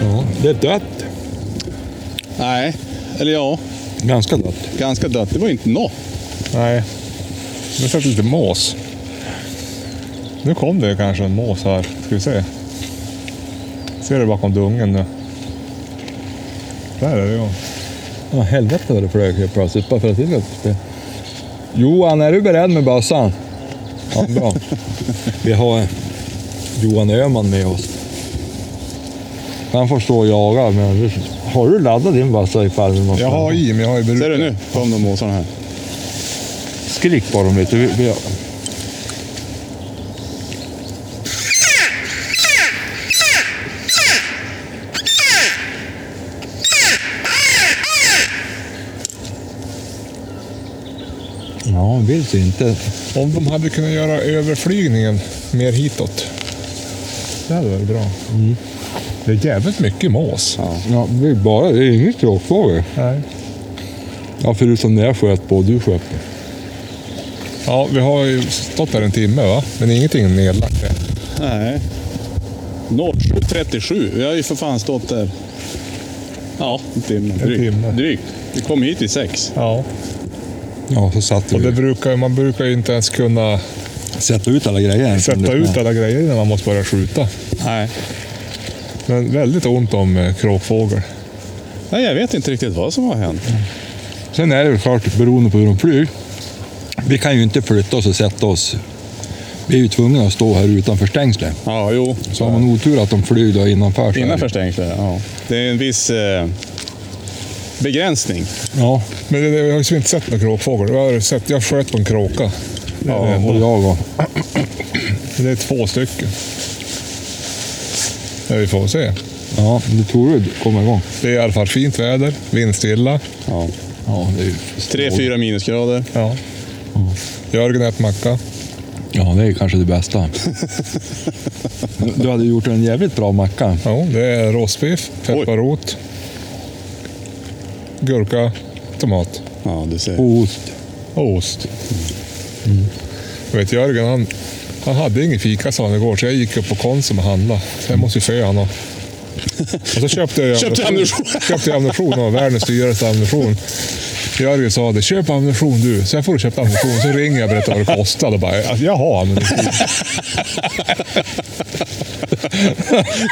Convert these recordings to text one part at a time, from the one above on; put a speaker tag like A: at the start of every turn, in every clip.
A: Ja, det är dött.
B: Nej, eller ja,
A: Ganska dött.
B: ganska dött. Det var ju inte något.
A: Nej. Nu satt lite mås. Nu kom det kanske en mås här. Ska vi se. Ser du bakom dungen nu? Där är det ju.
C: Ja, helvete vad det flög helt plötsligt. Bara för att det låter det. Johan, är du beredd med bössan? Ja, bra. Vi har Johan Öhman med oss. Han får stå och jaga, men du- har du laddat din bössa ifall du måste?
A: Jag har i, men jag har ju
B: Ser
A: berusat.
B: du nu? Kom de måsarna här.
C: Skrik på dem lite. Vi, vi... Ja, han vill sig inte.
A: Om de hade kunnat göra överflygningen mer hitåt. Det hade varit bra. Det är jävligt mycket mås.
C: Mm. Ja, det är bara, det är inget kråkfågel.
A: Nej.
C: Ja, förutom när jag sköt på och du sköt på.
A: Ja, vi har ju stått här en timme va? Men ingenting nedlagt än.
B: Nej. 07.37. Vi har ju för fan stått där. Ja, en timme. Drygt.
A: timme.
B: Drygt. Vi kom hit vid sex.
A: Ja.
C: Ja, så satte
A: Och det
C: vi.
A: brukar, man brukar ju inte ens kunna
C: Sätta ut alla grejer.
A: sätta ut alla grejer innan man måste börja skjuta.
B: Nej.
A: Men väldigt ont om eh, kråkfågel.
B: Nej, jag vet inte riktigt vad som har hänt.
C: Sen är det väl klart, beroende på hur de flyger. Vi kan ju inte flytta oss och sätta oss. Vi är ju tvungna att stå här utanför stängslet.
B: Ja, jo.
C: Så har man otur att de flyr då innanför. så är det-
B: Innanför stängslet, ja. Det är en viss eh, begränsning.
C: Ja,
A: Men det, det- jag har liksom inte sett någon kråkfågel. Jag, har sett, jag sköt på en kråka. Det, är det,
C: ja och
A: enda.
C: jag och.
A: det är två stycken. Ja, vi får se.
C: Ja, det tror du kommer igång.
A: Det är i alla fall fint väder, vindstilla.
B: Ja.
C: Ja, det är ju...
B: Tre, fyra minusgrader.
A: Ja. Jörgen äter macka.
C: Ja, det är kanske det bästa. Du hade gjort en jävligt bra macka.
A: Ja, det är rostbiff, pepparrot, gurka, tomat
B: Ja, du ser.
C: Och ost.
A: och ost. Jag vet, Jörgen han, han hade ingen fika sa han igår, så jag gick upp på Konsum och handlade. Så jag måste ju fö honom. Och så köpte jag
B: Köpte ammunition.
A: köpte jag ammunition av världens dyraste ammunition. Jörgen sa det, köp ammunition du. Så jag får köpa ammunition. Så ringer jag och berättar vad det kostar. Och bara, jag har ammunition.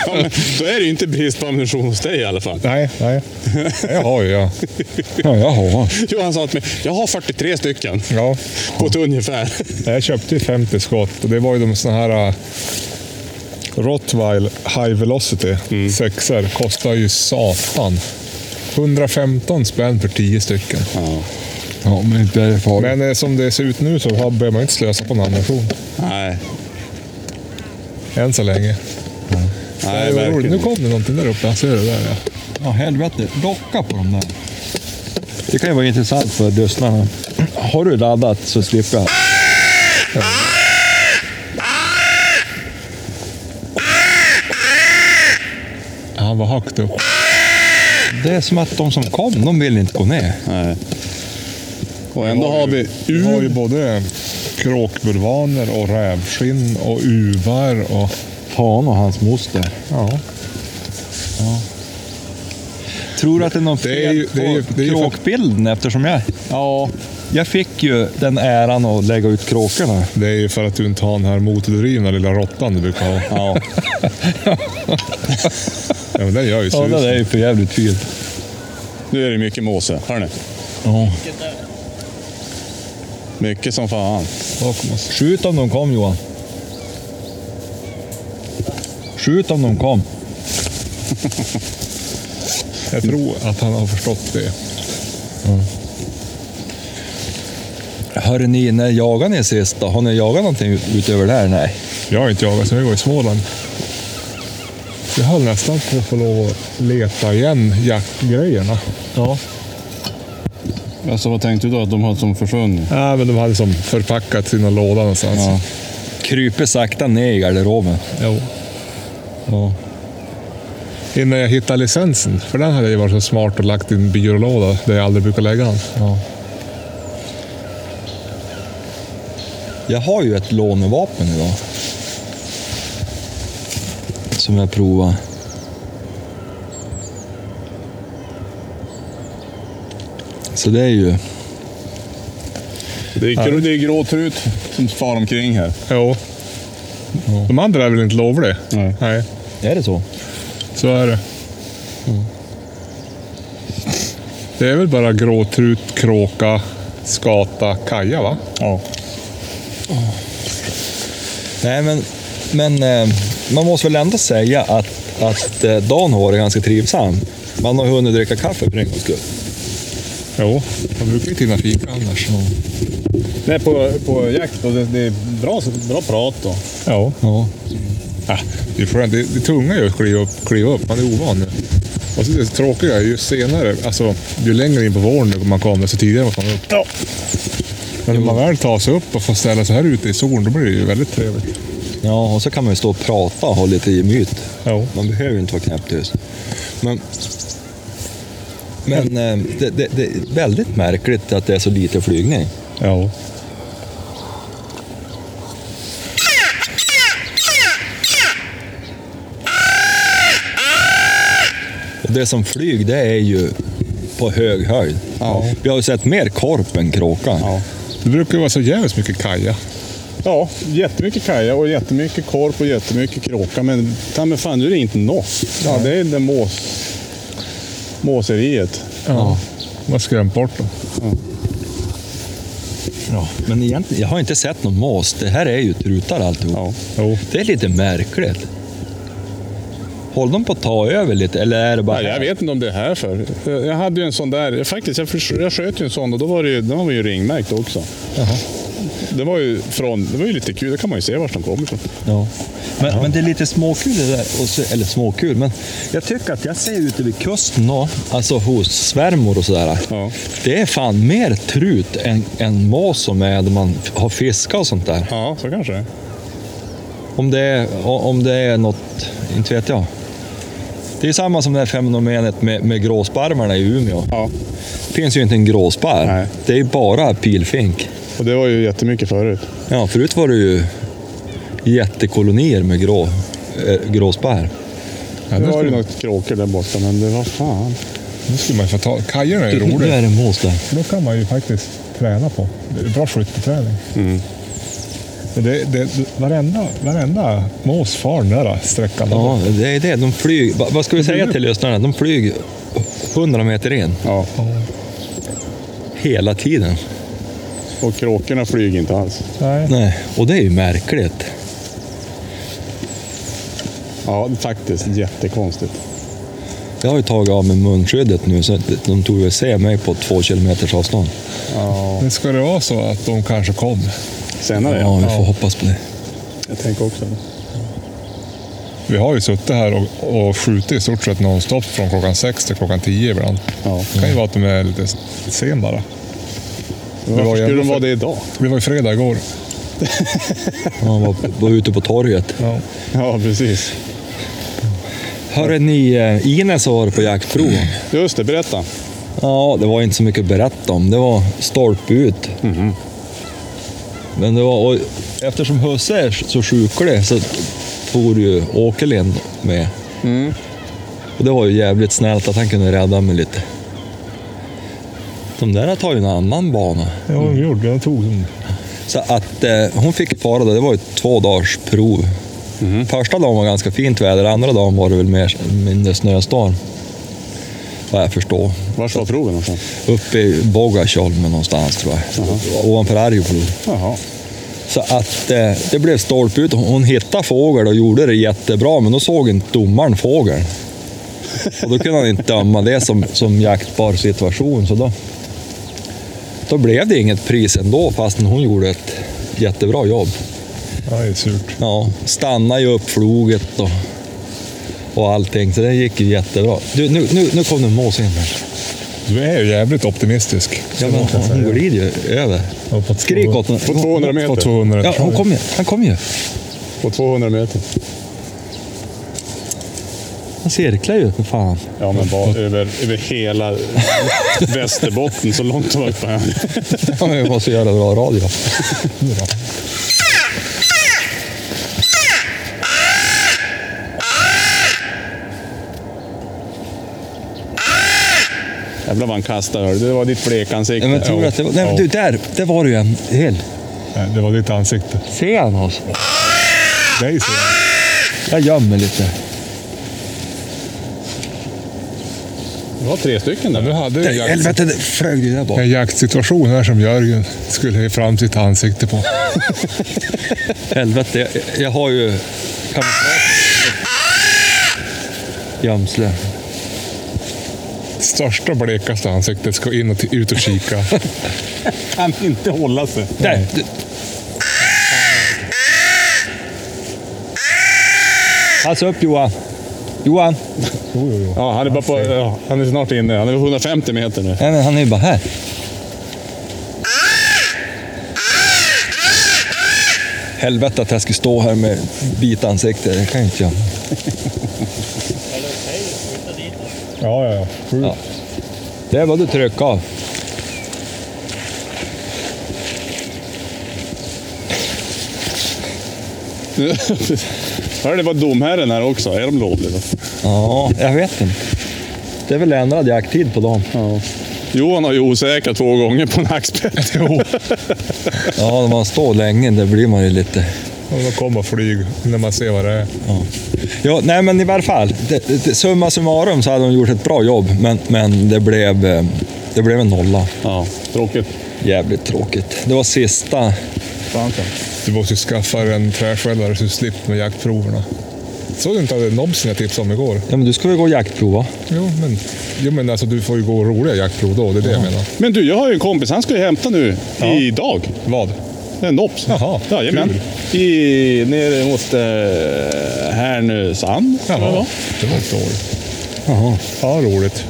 B: Ja, men, då är det ju inte brist på ammunition hos dig i alla fall.
A: Nej, nej. Jag har ju jag.
C: Ja, jaha.
B: Johan sa till mig, jag har 43 stycken
A: Ja.
B: på ett ungefär.
A: Jag köpte ju 50 skott och det var ju de såna här äh, Rottweil High Velocity sexer kostar ju satan. 115 spänn för 10 stycken.
C: Ja, men inte är det farligt.
A: Men eh, som det ser ut nu så har- behöver man inte slösa på en ammunition.
B: Nej,
A: Än så länge.
B: nej
A: det var roligt. Nu
B: verkligen.
A: kom det någonting där uppe. Ser du det där? Ja.
C: Ja, helvete. Docka på dem där. Det kan ju vara intressant för lyssnarna. Har du laddat så slipper jag.
A: Han var högt upp.
C: Det är som att de som kom, de vill inte gå ner.
B: Nej. Och ändå har vi
A: Vi har ju
B: ur.
A: både kråkbulvaner och rävskinn och uvar och...
C: Han och hans moster.
A: Ja.
C: Tror du att det är någon
A: Det är
C: fel
A: ju- det är ju-
C: på
A: det är ju för-
C: kråkbilden eftersom jag...
B: Ja,
C: Jag fick ju den äran att lägga ut kråkorna.
A: Det är ju för att du inte har den här motordrivna lilla råttan du brukar ha.
C: Ja,
A: Ja, men den gör ju
C: ja
A: sus.
C: det är ju för jävligt fint.
B: nu är det mycket måse. Hörni,
C: Ja.
B: mycket som fan.
A: Bakom oss.
C: Skjut om de kom Johan. Skjut om de kom.
A: Jag tror att han har förstått det.
C: Hörde ni, när jagade ni sist då? Har ni jagat någonting ut- utöver det här? Nej.
A: Jag har inte jagat sen vi var i Småland. Jag höll nästan på att få lov att leta igen jaktgrejerna.
C: Ja.
B: Alltså vad tänkte du då? Att de har som försvunnit?
A: Nej, men de hade som förpackat sina lådor någonstans.
C: ja. Kryper sakta ner i garderoben.
A: Jo.
C: Ja.
A: innan jag hittade licensen. För den hade jag varit så smart och lagt i en byrålåda där jag aldrig brukar lägga den.
C: Ja. Jag har ju ett lånevapen idag. Som jag provar. Så det är ju...
B: Det är, gr- det är grå trut som far omkring här.
A: Jo. De andra är väl inte lovliga?
B: Nej.
A: Nej,
C: Är det så?
A: så är det. Det är väl bara gråtrut, kråka, skata, kaja va?
B: Ja.
C: Nej, men, men eh, man måste väl ändå säga att, att eh, dagen har varit ganska trivsam. Man har hunnit dricka kaffe för en gångs skull.
A: Jo, de brukar ju till med fika annars.
B: Nej, på, på jakt då. Det, det är bra, bra prat då.
A: Ja.
C: Ja.
A: Ah, det, är skönt. det, det tunga är ju att kliva upp, kliva upp, man är ovan nu. Och så det tråkiga är ju senare, alltså ju längre in på våren man kommer, så tidigare måste man upp.
B: Ja.
A: Men när man väl tar sig upp och får ställa sig här ute i solen, då blir det ju väldigt trevligt.
C: ja, och så kan man ju stå och prata och ha lite gemyt.
A: Ja.
C: Man behöver ju inte vara knäpptyst. Men, men eh, det, det, det är väldigt märkligt att det är så lite flygning.
A: Ja.
C: Och det som flyg, det är ju på hög höjd.
A: Ja.
C: Vi har ju sett mer korp än kråka.
B: Ja.
A: Det brukar ju vara så jävligt mycket kaja.
B: ja, jättemycket kaja och jättemycket korp och jättemycket kråka. Men ta mig fan, nu är det inte nås. Ja, det är det mås, måseriet.
A: Ja. Man har skrämt bort dem.
C: Ja. Men egentligen, jag har inte sett någon mås. Det här är ju trutar alltihop.
B: Ja.
A: Jo.
C: Det är lite märkligt. Håller de på att ta över lite, eller är det bara...
B: Ja, jag vet inte om det är här för. Jag- Jag hade ju en sån där, faktiskt, jag, förs- jag sköt ju en sån och då var det ju, den var ju ringmärkt också. Det var ju från, det var ju lite kul, då kan man ju se vart de kommer ifrån.
C: Ja. Men, men det är lite småkul det där. Och så, eller småkul, men jag tycker att jag ser ute vid kusten då, alltså hos svärmor och sådär.
B: Ja.
C: Det är fan mer trut än, än mås som är där man har fiskat och sånt där.
B: Ja, så kanske det är.
C: Om det är, om det är något, inte vet jag. Det är samma som det här fenomenet med, med gråsparvarna i Umeå.
B: Ja,
C: Det finns ju inte en gråsparv.
B: Nej.
C: Det är ju bara pilfink.
B: och det var ju jättemycket förut.
C: Ja, förut var det ju jättekolonier med grå, eh, gråsparv.
A: Ja,
B: Nu
A: nu,
B: har ju
A: skulle,
B: något kråkor där borta, men det var fan.
A: nu skulle man ju få ta... Kajerna är ju
C: Nu
A: roliga.
C: är det mås där.
A: Då kan man ju faktiskt träna på. Det är Bra skytteträning. Men Det, det, varenda, varenda mås far den där sträckan.
C: Ja, det är det. De flyger. Va- Vad ska vi säga till lyssnarna? De flyger 100 meter in
B: Ja,
C: hela tiden.
B: och kråkorna flyger inte alls.
A: Nej.
C: Nej, och det är ju märkligt.
B: Ja, faktiskt jättekonstigt.
C: Jag har ju tagit av mig munskyddet nu, så att de tog väl se mig på två kilometers avstånd.
B: Ja,
A: Men ska det vara så att de kanske kom?
B: senare
C: Ja,
B: ja.
C: vi får hoppas på det.
B: Jag tänker också det.
A: Vi har ju suttit här och, och skjutit i stort sett nonstop från klockan sex till klockan tio ibland.
B: Ja.
A: Det kan ju vara att de är lite sen bara. var
B: Varför
A: ju
B: skulle
A: ändå
B: de vara
A: för-
B: det idag?
A: Det var ju fredag igår.
C: Han var, var ute på torget.
A: Ja.
B: Ja, precis.
C: Hörde ni, eh, Ines har varit på jaktprov.
B: Just det, berätta.
C: Ja, det var inte så mycket att berätta om. Det var stolpe ut. Men det var, och eftersom husse är så sjuklig så for ju Åkerlind med. Och det var ju jävligt snällt att han kunde rädda mig lite. De där tar ju en annan bana. Mm.
A: Ja, de gjorde det. tog dem.
C: Så att eh, hon fick fara då. Det var ju två dagars prov. Första dagen var ganska fint väder, andra dagen var det väl mer mindre snöstorm. Vad jag förstår.
B: Vart var proven någonstans?
C: Uppe i Bogasholmen någonstans tror jag. Ovanför Arjeplog.
B: Jaha.
C: Så att eh, det blev stolpe ut. Hon hittade fågel och gjorde det jättebra, men då såg inte domaren fågeln. Och då kunde han inte döma det som, som jaktbar situation, så då, då blev det inget pris ändå, fastän hon gjorde ett jättebra jobb.
A: Ja, det är surt.
C: Ja, stannade ju upp floget och, och allting, så det gick ju jättebra. Du, nu, nu, nu kom det en mås in här.
A: Du är ju jävligt optimistisk.
C: Ja, men hon, hon glider ju över.
A: Ja, på två-
C: Skrik åt henne.
B: På 200 meter.
A: På 200
C: Ja, hon kom ju. Han kom ju.
B: På 200 meter.
C: Han cirklar ju för fan.
B: Ja, men bara över, över hela Västerbotten, så långt de var uppe här.
C: Han har ju så jävla bra radio.
B: Jävlar vad han kastade. hörru. Det var ditt blekansikte.
C: Men tror du att det var... Nej, men
B: Ja.
C: du, där, där var det ju en hel.
A: Nej, Det var ditt ansikte.
C: Ser han oss?
A: Nej, ser jag.
C: Jag gömmer lite.
B: Det var tre stycken där.
A: Du hade ju en,
C: Nej,
A: jakt,
C: Helvete, det flög det där bak.
A: en jaktsituation här som Jörgen skulle ge fram sitt ansikte på.
C: Helvete, jag, jag har ju kamouflage. Gömsle.
A: Största blekaste ansiktet ska in och t- ut och kika.
B: kan inte hålla sig.
C: Där! du- Pass Alltså upp Johan! Johan!
A: Jo, jo, jo.
B: Ja, han är, bara på, ja, han är snart inne. Han är 150 meter nu.
C: Nej men han är ju bara här. Helvete att jag ska stå här med vit ansikte. Det kan jag inte göra.
A: Ja, ja, ja. Sjukt.
C: Ja. Det var du tryck av.
B: Hörde, det var domherren här också. Är de lovliga?
C: Ja, jag vet inte. Det är väl ändrad jakttid på dem.
B: Ja. Johan har ju osäkrat två gånger på en hackspett. Jo.
C: Ja, när man står länge, det blir man ju lite...
A: Och de kommer flyg när man ser vad det är.
C: Ja, nej, men i varje fall. Det, det, summa summarum så hade de gjort ett bra jobb, men, men det, blev, eh, det blev en nolla.
B: Ja, tråkigt.
C: Jävligt tråkigt. Det var sista...
B: Fan, så.
A: Du måste ju skaffa dig en träskällare så du slipper med jaktproverna. Såg du inte att det är Nobsen jag tipsade om igår?
C: Ja, men du ska väl gå och jaktprova?
A: Jo, men, jo, men alltså, du får ju gå roliga jaktprov då. Det är det jag menar.
B: Men du, jag har ju en kompis. Han ska ju hämta nu idag.
A: Vad?
B: Det är en Nobs.
A: Jaha,
B: Jajamän. I, nere mot eh, Härnösand. tror jag det var.
A: Det var inte dåligt.
C: Jaha.
A: Ja, roligt.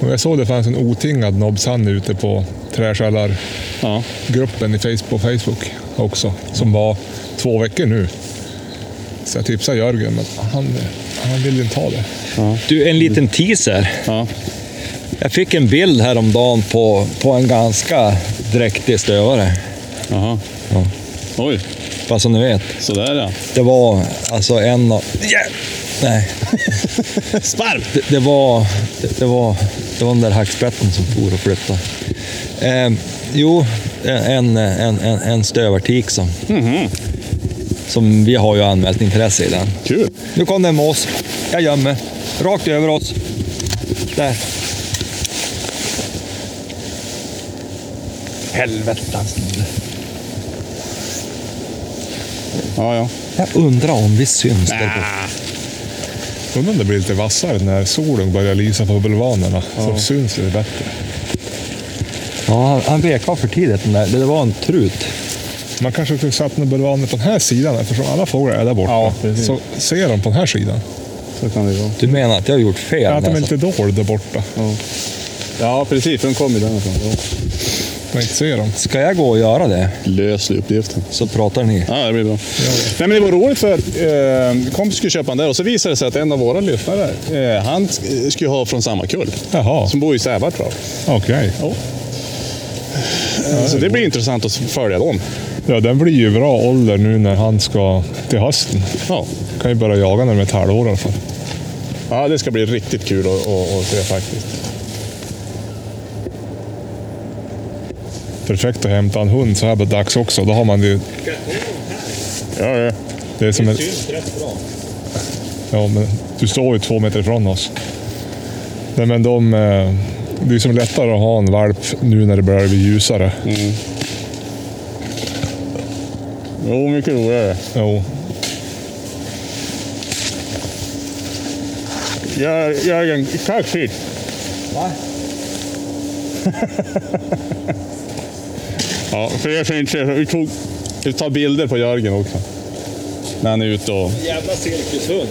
A: Och jag såg det fanns en otingad Nobsan ute på träskällargruppen
B: Ja.
A: i Facebook, på Facebook också. Som var två veckor nu. Så jag tipsade Jörgen, men han, han ville inte ha det.
C: Du, en liten teaser.
B: Ja.
C: Jag fick en bild häromdagen på, på en ganska dräktig stövare.
B: Jaha.
C: Ja.
B: Oj,
C: Bara så ni vet.
B: sådär ja.
C: Det var alltså en av... Yeah! Nej,
B: Sparv!
C: det, det, var, det, det var... Det var den där hackspetten som for och flyttade. Eh, jo, en, en, en, en stövartik som...
B: Mhm.
C: Som vi har ju anmält intresse i den.
B: Kul!
C: Nu kom den med oss. Jag gömmer. Rakt över oss. Där. Helvete.
B: Ja, ja.
C: Jag undrar om vi syns där borta.
A: Undrar om det blir lite vassare när solen börjar lysa på bulvanerna. Så syns det bättre.
C: Ja, han- han vek av för tidigt den där. Det var en trut.
A: Man kanske skulle satt med bulvaner på den här sidan eftersom alla fåglar är där borta.
B: Ja, precis.
A: så ser de på den här sidan.
B: Så kan det gå.
C: Du menar att jag har gjort fel?
A: Ja, att de är
C: alltså?
A: lite dold där borta.
B: Ja, ja precis. För de kom ju därifrån. Ja.
A: Man inte ser dem.
C: Ska jag gå och göra det?
B: Lös uppgiften.
C: Så pratar ni.
B: Ja, det blir bra. Nej, men det var roligt för att eh, kompis skulle köpa den där och så visade det sig att en av våra lyssnare, eh, han sk- skulle ha från samma kull.
A: Jaha,
B: Som bor i Sävartrav.
A: okej.
B: Så det blir intressant att följa dem.
A: Ja, den blir ju bra ålder nu när han ska till hösten.
B: Ja,
A: Kan ju börja jaga när de är ett halvår i alla fall.
B: ja det ska bli riktigt kul att, att, att se faktiskt.
A: Perfekt att hämta en hund så här på dags också. Då har man ju...
B: Ja, ja.
A: Det är som en... Ja, men du står ju två meter ifrån oss. Nej, men de... eh, Det är som lättare att ha en valp nu när det börjar bli ljusare.
B: Mm. Jo, mycket roligare.
A: Jo,
B: Jag, jag är en kaxig.
C: Va?
B: Ja, för er som inte ser så- vi tog vi tar bilder på Jörgen också. När han är ute och...
C: Jävla cirkushund.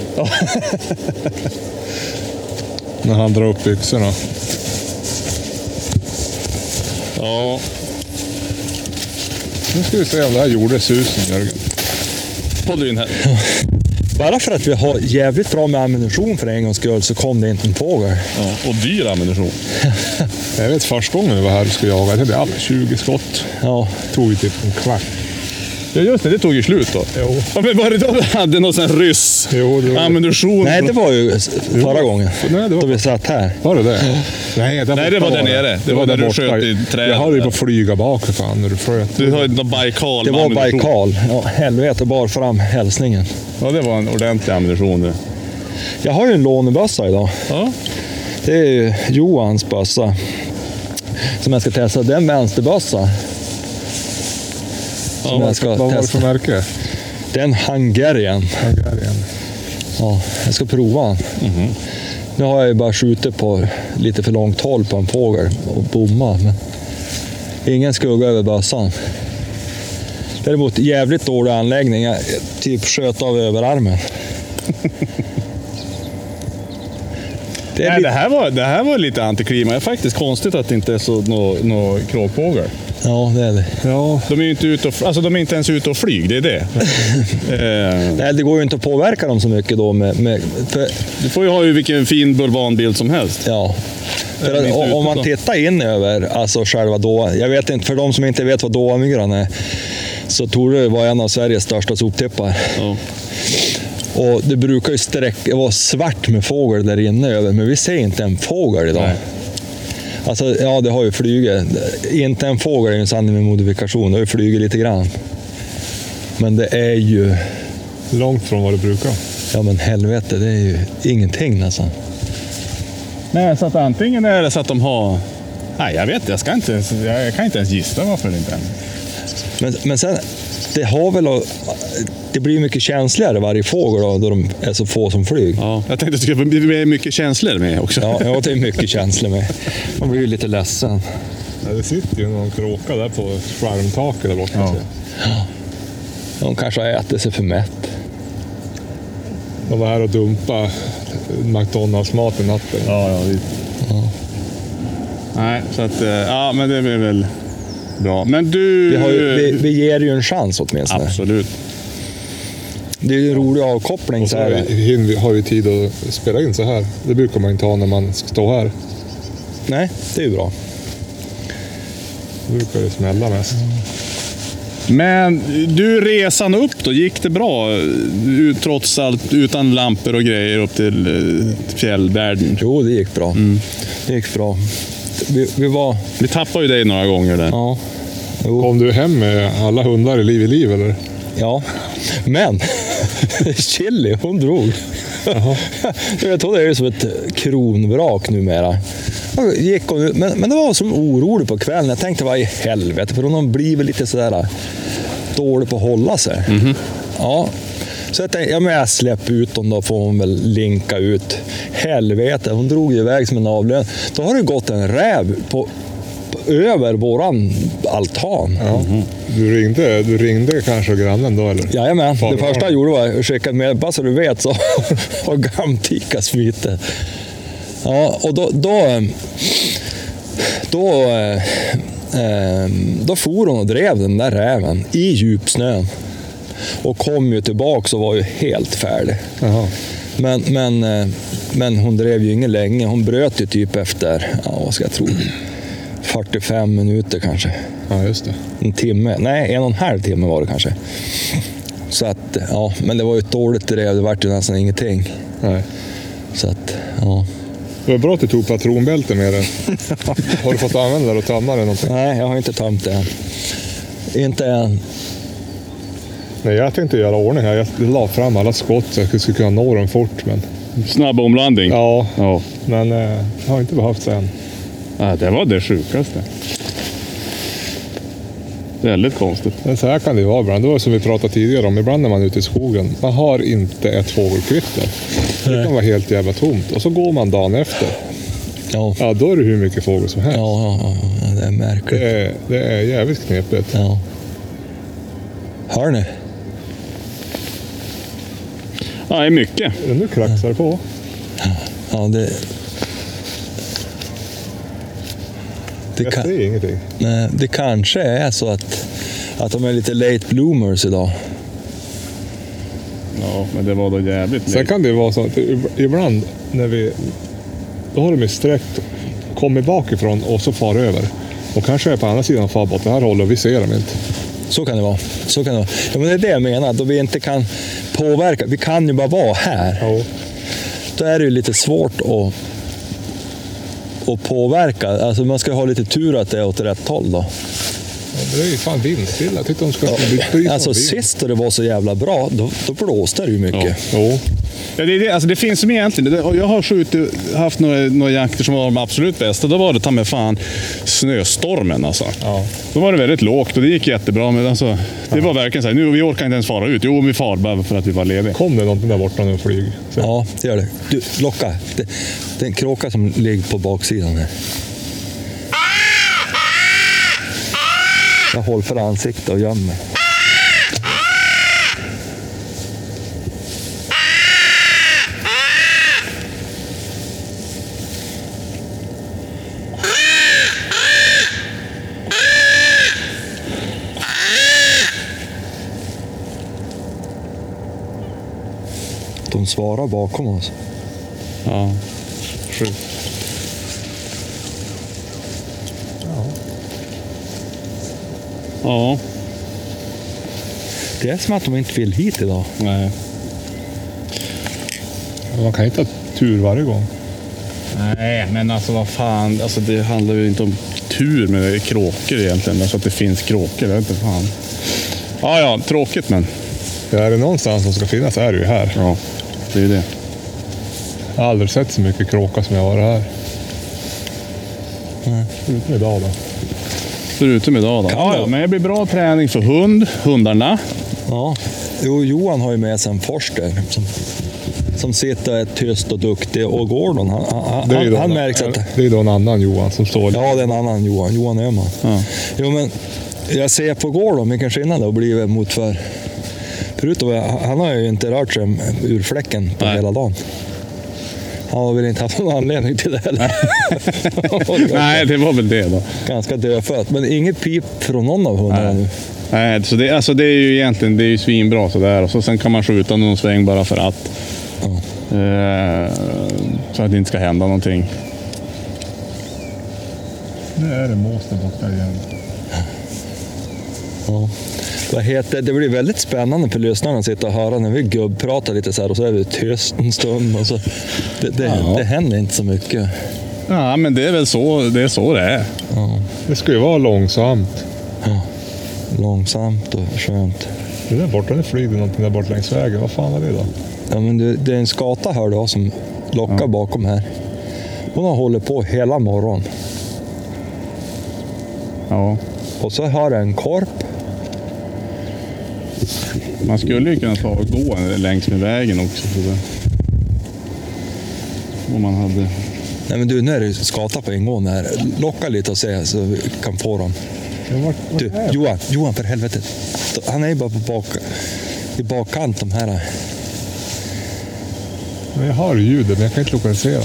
A: när han drar upp byxorna.
B: Ja,
A: Nu ska vi se om det här gjorde susen, Jörgen.
B: håll in här.
C: Bara för att vi har jävligt bra med ammunition för en gångs skull så kom det inte en fågel.
B: Ja, och dyr ammunition.
A: Jag vet första gången vi var här och skulle jaga, det blev alla 20 skott.
C: Ja.
A: Det tog ju typ en kvart.
B: Ja, just det. Det tog ju slut då.
A: Jo.
B: Ja, men var det då vi hade någon sån här ryss
A: Jo, det var det.
B: ammunition?
C: Nej, det var ju s- förra gången.
A: Nej, det var-
C: Då vi satt här.
A: Var det det? Nej, där
B: Nej, det
A: borta
B: var där nere. Det var
A: där
B: där du
A: borta.
B: sköt i trädet
A: Jag hade ju
B: där.
A: på flyga bak för fan när du sköt.
B: Du har ju någon Baikal
C: Det
B: med
C: var
B: ammunition.
C: Baikal. Ja, helvete bar fram hälsningen.
B: Ja, det var en ordentlig ammunition. det.
C: Jag har ju en lånebössa idag.
B: Ja.
C: Det är ju Johans bössa. Som jag ska testa. Det är en vänsterbössa.
B: Ja,
C: Som jag ska
A: Vad var det för
C: testa.
A: märke?
C: Det är en Hungarian.
A: Hungarian.
C: Ja, jag ska prova den. Nu har jag ju bara skjutit på lite för långt håll på en fågel och bommat. Men ingen skugga över bössan. Däremot jävligt dålig anläggning. Jag jag typ sköt av överarmen. Det är
B: Nej, det
C: lite...
B: här var, det här var lite antiklima. Det är faktiskt konstigt att det inte är så nå nå kråkfågel.
C: Ja, det är det.
A: Ja,
B: De är ju inte, ute och, alltså, de är inte ens ute och flyg, det är det. eh,
C: Nej, det går ju inte att påverka dem så mycket då. Med, med, för,
B: du får ju ha ju vilken fin bulvanbild som helst.
C: ja.
B: Är de
C: För att,
B: inte
C: om- om
B: ute
C: man
B: då?
C: tittar in över alltså själva Dåa. Jag vet inte, för de som inte vet vad Dåamyran är, så tror det var en av Sveriges största soptippar.
B: Ja.
C: Och det brukar ju sträcka, vara svart med fågel där inne över, men vi ser inte en fågel idag.
B: Nej.
C: Alltså, ja, det har ju flugit. Inte en fågel är ju en sanning med modifikation, det har ju flugit lite grann. Men det är ju,
A: långt från vad det brukar.
C: ja men helvete, det är ju ingenting alltså. nästan.
B: Nej, så att antingen är det så att de har... Nej, jag vet jag ska inte ens, jag, jag kan inte ens gissa varför det inte är.
C: Men, men sen, det har väl... Det blir mycket känsligare varje fågel då, då de är så få som flyg.
B: Ja. Jag tänkte att det skulle bli mycket känslor med också.
C: Ja, ja, det är mycket känslor med. Man blir ju lite ledsen.
A: Ja, det sitter ju någon kråka där på skärmtaket där borta.
B: Ja.
C: De kanske har ätit sig för mätt.
A: De var här och dumpa McDonalds-mat i natten.
B: Ja, ja, visst. Nej, så att... eh, Ja, men det blir väl bra. Men du...
C: Vi, har ju, vi, vi ger ju en chans åtminstone.
B: Absolut.
C: Det är ju en rolig avkoppling.
A: Och
C: Så
A: så har vi,
C: här.
A: hinner vi- har vi tid att spela in så här. Det brukar man inte ha när man ska stå här.
C: Nej, det är ju bra.
A: Då brukar det smälla mest.
B: Men du, resan upp då, gick det bra? Du, trots allt, utan lampor och grejer upp till eh, fjällvärlden.
C: Jo, det gick bra. Det gick bra. Vi, vi var...
B: Vi tappade ju dig några gånger där.
C: Ja.
A: Kom du hem med alla hundar i liv i liv eller?
C: Ja, men Chili, hon drog. Du vet, hon är ju som ett kronvrak numera. Och Gick hon, ut- men, men det var som orolig på kvällen. Jag tänkte, vad i helvete? För hon blir väl lite sådär äh, dålig på att hålla sig. Ja. Så jag tänkte, ja, men jag släpper ut hon då, får hon väl linka ut. Helvete, hon drog ju iväg som en avlön. Då har det gått en räv på, på, över våran altan.
A: Ja. Du, ringde, du ringde kanske grannen då eller?
C: Jajamän,
A: Fan,
C: det
A: vad
C: första
A: bra.
C: jag gjorde var att skicka med, bara så du vet, så har Gamtika smitit. Ja, och då... Då, eh, då, eh, eh, då for hon och drev den där räven i djupsnön. Och kom ju tillbaka och var ju helt färdig.
A: Jaha.
C: Men, men, eh, men hon drev ju ingen länge. Hon bröt ju typ efter, ja, vad ska jag tro, 45 minuter kanske
A: Ja, just det.
C: en timme, nej en och en halv timme var det kanske. Så att, ja, men det var ju ett dåligt drev, det vart ju nästan ingenting.
A: Nej.
C: Så att, ja.
A: Det var bra att du tog patronbälte med dig. har du fått använda det och tömma det någonting?
C: Nej, jag har inte tömt det än. Inte än.
A: Nej, jag tänkte göra ordning här. Jag la fram alla skott så jag skulle kunna nå dem fort. Men,
B: Snabb omlandning.
A: ja,
B: ja.
A: men eh, har inte behövt än.
B: Ja, det var det sjukaste. Väldigt konstigt.
A: Men så här kan det ju vara ibland. Det var som vi pratade tidigare om. Ibland när man är ute i skogen. Man har inte ett fågelkvitter. Det kan vara helt jävla tomt. Och så går man dagen efter.
C: Ja, ja,
A: Ja, då är det hur mycket fågel som helst.
C: ja, ja, ja det är
A: Det,
C: märkligt.
A: är, det är jävligt knepigt.
C: Ja. Hör ni?
B: Ja, det är mycket.
A: Men Nu kraxar det på.
C: Ja, det... Det,
A: Jag
C: kan,
A: ser ingenting.
C: nej, det kanske är så att, att de är lite late bloomers idag.
B: Ja, men det var då jävligt
A: Sen
B: länge.
A: kan det ju vara så att ib- ibland när vi... Då har de ju sträckt, kommit bakifrån och så far över. Och kanske är på andra sidan far åt det här hållet och vi ser dem inte.
C: Så kan det vara. Så kan det, vara. Ja, men det är det jag menar, då vi inte kan påverka. Vi kan ju bara vara här.
A: Ja.
C: Då är det ju lite svårt att, att påverka. Alltså man ska ha lite tur att det är åt rätt håll då.
A: Det är ju fan vindstilla. Jag tyckte de ska bli
C: Alltså sist då det var så jävla bra, då, då blåste det ju mycket.
A: Jo.
B: Ja, det, är det, alltså det finns som egentligen. det- Jag har skjutit, haft några, några jakter som var de absolut bästa. Då var det ta mig fan snöstormen alltså.
A: Ja.
B: Då var det väldigt lågt och det gick jättebra. Men alltså, det var verkligen så här, nu vi orkar inte ens fara ut. Jo, vi far bara för att vi var lediga.
A: Kom det någonting där borta nu flyg? Så.
C: Ja, det gör det. Du, locka. Det, det är en kråka som ligger på baksidan här. Jag håller för ansiktet och gömmer mig. De svarar bakom oss.
B: Ja. Ja,
C: Det är som att de inte vill hit idag.
B: nej.
A: Man kan ju inte ha tur varje gång.
B: Nej, men alltså vad fan. Alltså, det handlar ju inte om tur med det är kråkor egentligen. Alltså att det finns kråkor, det är inte fan. Ja, ja, tråkigt men.
A: Ja, är det någonstans som ska finnas är det ju här.
B: Ja, det är det.
A: Jag har aldrig sett så mycket kråka som jag har här. Utom idag då.
B: Förutom idag då. Ja, ja, men det blir bra träning för hund, hundarna.
C: Ja. Jo, Johan har ju med sig en forster som, som sitter och är tyst och duktig. Och Gordon, han, han,
A: Det är ju
C: han,
A: då
C: han
A: en-
C: märks att...
A: Det är då en annan Johan som står
C: Ja, det är en annan Johan. Johan Öhman.
B: Ja.
C: Jo, men jag ser på Gordon vilken skillnad det har blivit mot för... Förutom att han har ju inte rört sig ur fläcken på
B: Nej.
C: hela dagen. Han har väl inte haft någon anledning till det heller.
B: Nej, det var väl det då.
C: Ganska dödfött, men inget pip från någon av hundarna nu.
B: Nej, så det, alltså det är ju egentligen det är ju svinbra sådär. Och så, sen kan man skjuta någon sväng bara för att.
C: Ja.
B: Eh, så att det inte ska hända någonting.
A: Nu är det mås där borta igen.
C: Ja. Vad heter, det blir väldigt spännande för lyssnarna att sitta och höra när vi gubbpratar lite så här och så är vi tyst en stund. Och så. Det, det,
B: Ja.
C: det händer inte så mycket.
B: Ja, men det är väl så det är. Så det är.
C: Ja.
A: Det ska ju vara långsamt.
C: Ja. Långsamt och skönt.
A: Det där borta, det flyger någonting där borta längs vägen. Vad fan var det då?
C: Ja, men det, det är en skata hör du har som lockar bakom här. Hon har hållit på hela morgonen.
B: Ja.
C: Och så hör jag en korp.
B: Man skulle ju kunna ta och gå längs med vägen också. Sådär. Om man hade...
C: Nej men du, nu är det ju skata på ingående här. Locka lite och se så vi kan få dem.
A: Ja, vart, vart
C: Du,
A: är det?
C: Johan, Johan för helvete. Han är ju bara på bak, i bakkant de här.
A: Men jag hör ljudet, men jag kan inte lokalisera.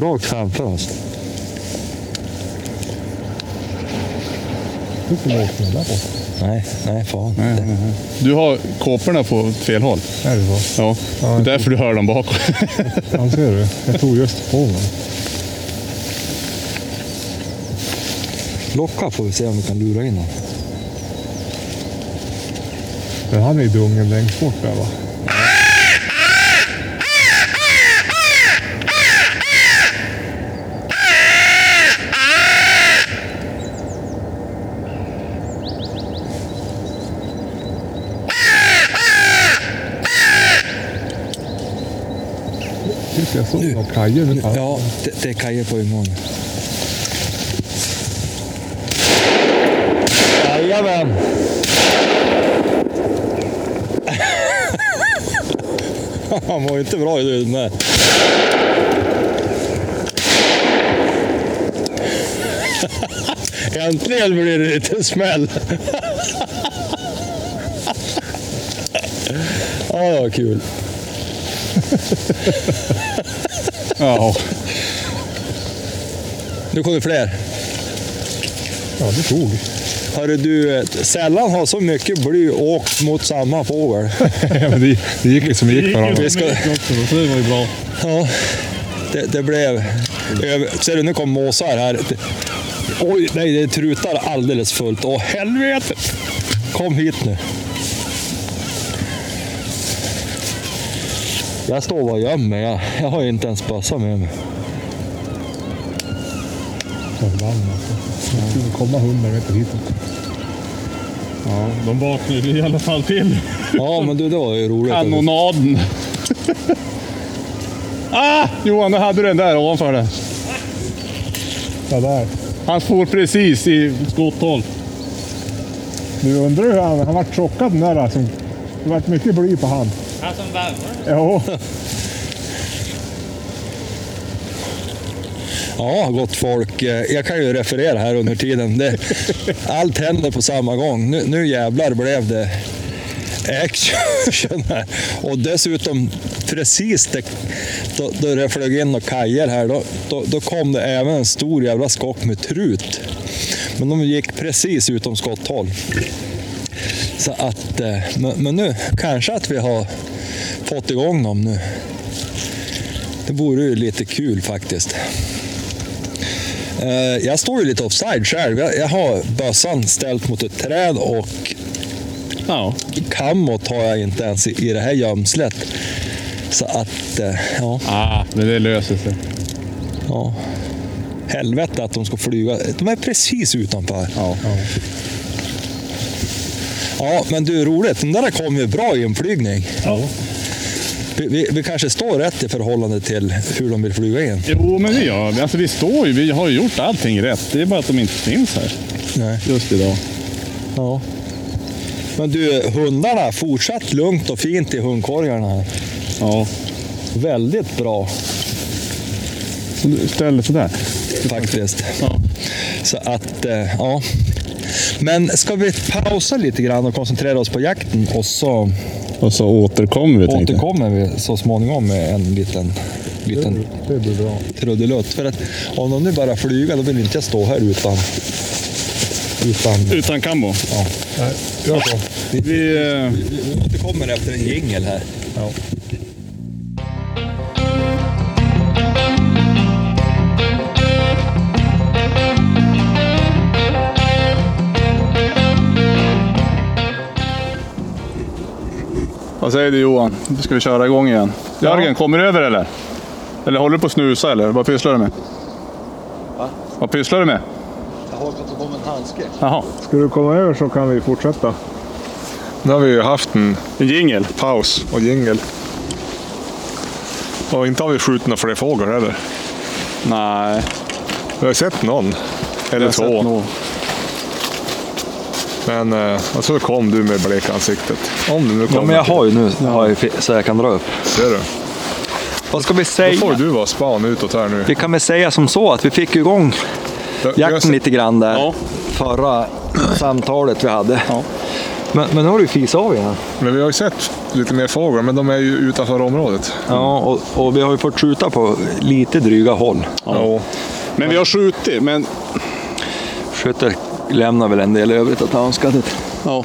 C: Rakt framför oss.
A: Hur kommer åsnan där borta?
C: Nej, nej fan.
B: Nej, nej, nej. Du har kåporna på åt fel håll.
A: Är det så?
B: Ja, det är därför du hör dem bakom.
A: Han ser du. Jag tog just på honom.
C: Locka får vi se om vi kan lura in honom.
A: Men han är i dungen längst bort där va? Typ jag såg några kajor med tanten.
C: Ja, det, det är Kaje på ingången. Jajamän! Han var ju inte bra i ljuden där. Äntligen blir det lite smäll! Ja, det var kul.
B: Ja.
C: Nu kommer det fler.
A: Ja, det tog.
C: Hörru du, sällan har så mycket bly åkt mot samma fågel.
A: Men det, det gick ju som det gick för honom.
C: Vi ska-
D: också, då, så det var ju bra.
C: Ja, det, det blev... över- Ser du, nu kom måsar här. Oj, nej, det trutar alldeles fullt. Åh, helvete! Kom hit nu. Jag står bara och gömmer mig. Jag, jag har ju inte ens bössa med mig.
A: Det skulle komma 100 meter hitåt.
D: De vaknade i alla fall till.
C: Ja, men du, det var ju roligt.
B: Kanonaden. ah! Johan, nu hade du den där ovanför dig.
A: Ja, där.
B: Han for precis i...
D: Skotthåll.
A: Du undrar hur han... Han vart chockad den där. Alltså. Det vart mycket bly på han.
E: Han som värmer.
A: Ja.
C: Ja, gott folk. Eh, Jag kan ju referera här under tiden. Det, allt händer på samma gång. Nu, nu jävlar blev det action här. Och dessutom precis det, då, då det flög in några kajer här, då, då, då kom det även en stor jävla skock med trut. Men de gick precis utom skotthåll. Så att, eh, men, men nu kanske att vi har fått igång dem nu. Det vore ju lite kul faktiskt. Eh, Jag står ju lite offside själv. Jag, jag har bössan ställt mot ett träd och
B: Ja.
C: kammot har jag inte ens i, i det här gömslet. Så att, eh, ja,
B: Ah, men det löser sig.
C: ja. Helvete att de ska flyga. De är precis utanför.
B: Ja.
C: Ja, men du, roligt. Den där kom ju bra i inflygning.
D: Ja.
C: Vi, vi, vi kanske står rätt i förhållande till hur de vill flyga in.
B: Jo, men det gör vi. Alltså, vi står ju. Vi har ju gjort allting rätt. Det är bara att de inte finns här
C: Nej.
B: just idag.
C: Ja. Men du, hundarna, fortsatt lugnt och fint i hundkorgarna. här.
B: Ja.
C: Väldigt bra.
B: Så du ställer sådär.
C: faktiskt. Så att, eh, ja. Men ska vi pausa lite grann och koncentrera oss på jakten och så
B: Och så Alltså, återkommer vi, tänkte jag.
C: återkommer vi så småningom med en liten, liten trudelutt. För att om de nu bara flyger, då vill inte jag stå här utan... utan
B: Utan kammo.
C: gör så. Vi,
B: Vi... Eh...
C: vi återkommer efter en jingel här.
B: Vad säger du Johan? Nu ska vi köra igång igen. Jörgen, kommer du över eller? Eller håller du på att snusa eller? Vad pysslar du med? Vad pysslar du med?
C: Jag har fått på en handske.
B: Jaha,
A: Ska du komma över så kan vi fortsätta.
F: Nu har vi ju haft en
B: en jingel.
F: paus och jingel. Och inte har vi skjutit några fler fåglar heller.
B: Nej,
F: Vi har sett någon.
B: jag
F: Eller
B: har sett
F: två.
B: nog.
F: Men eh, och så kom du med bleka ansiktet. Om du nu kommer.
C: ju nu så jag kan dra upp.
F: Ser du?
C: Vad ska vi
F: Då
C: säga?
F: får du vara span utåt här nu.
C: Vi kan väl säga som så att vi fick igång
F: Jag- jag
C: jakten
F: ser-
C: lite grann där.
B: Ja.
C: Förra samtalet vi hade.
B: Ja.
C: Men, men nu har du ju fisat av igen.
F: Men vi har ju sett lite mer fåglar, men de är ju utanför området.
C: Ja, och, och vi har ju fått skjuta på lite dryga håll.
F: Ja.
B: Men vi har skjutit. Men...
C: Skytte lämnar väl en del övrigt att önska. det.
B: Ja.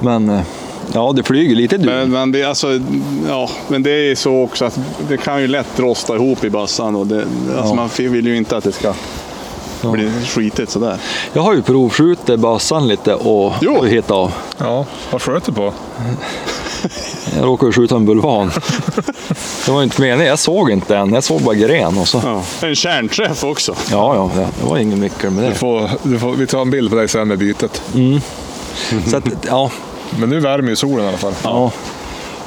C: Men eh, ja, det flyger lite du.
B: Men, men, det, är alltså, ja, men det är så också att det kan ju lätt rosta ihop i bassan. Och det, alltså
C: Ja.
B: Man vill ju inte att det ska bli skitigt sådär.
C: Jag har ju provskjutit bössan lite och,
B: Jo.
C: och hittat av.
F: ja. Vad sköt du på?
C: Jag råkade ju skjuta en bulvan. det var ju inte meningen. Jag såg inte den. Jag såg bara gren och så. Ja,
B: Ja. En kärnträff också.
C: ja, ja. det var ingen mycket med
F: Du
C: det.
F: får, du får, vi tar en bild på dig sen med bytet.
C: Så att, ja,
F: Men nu värmer ju solen i alla fall.
C: Ja.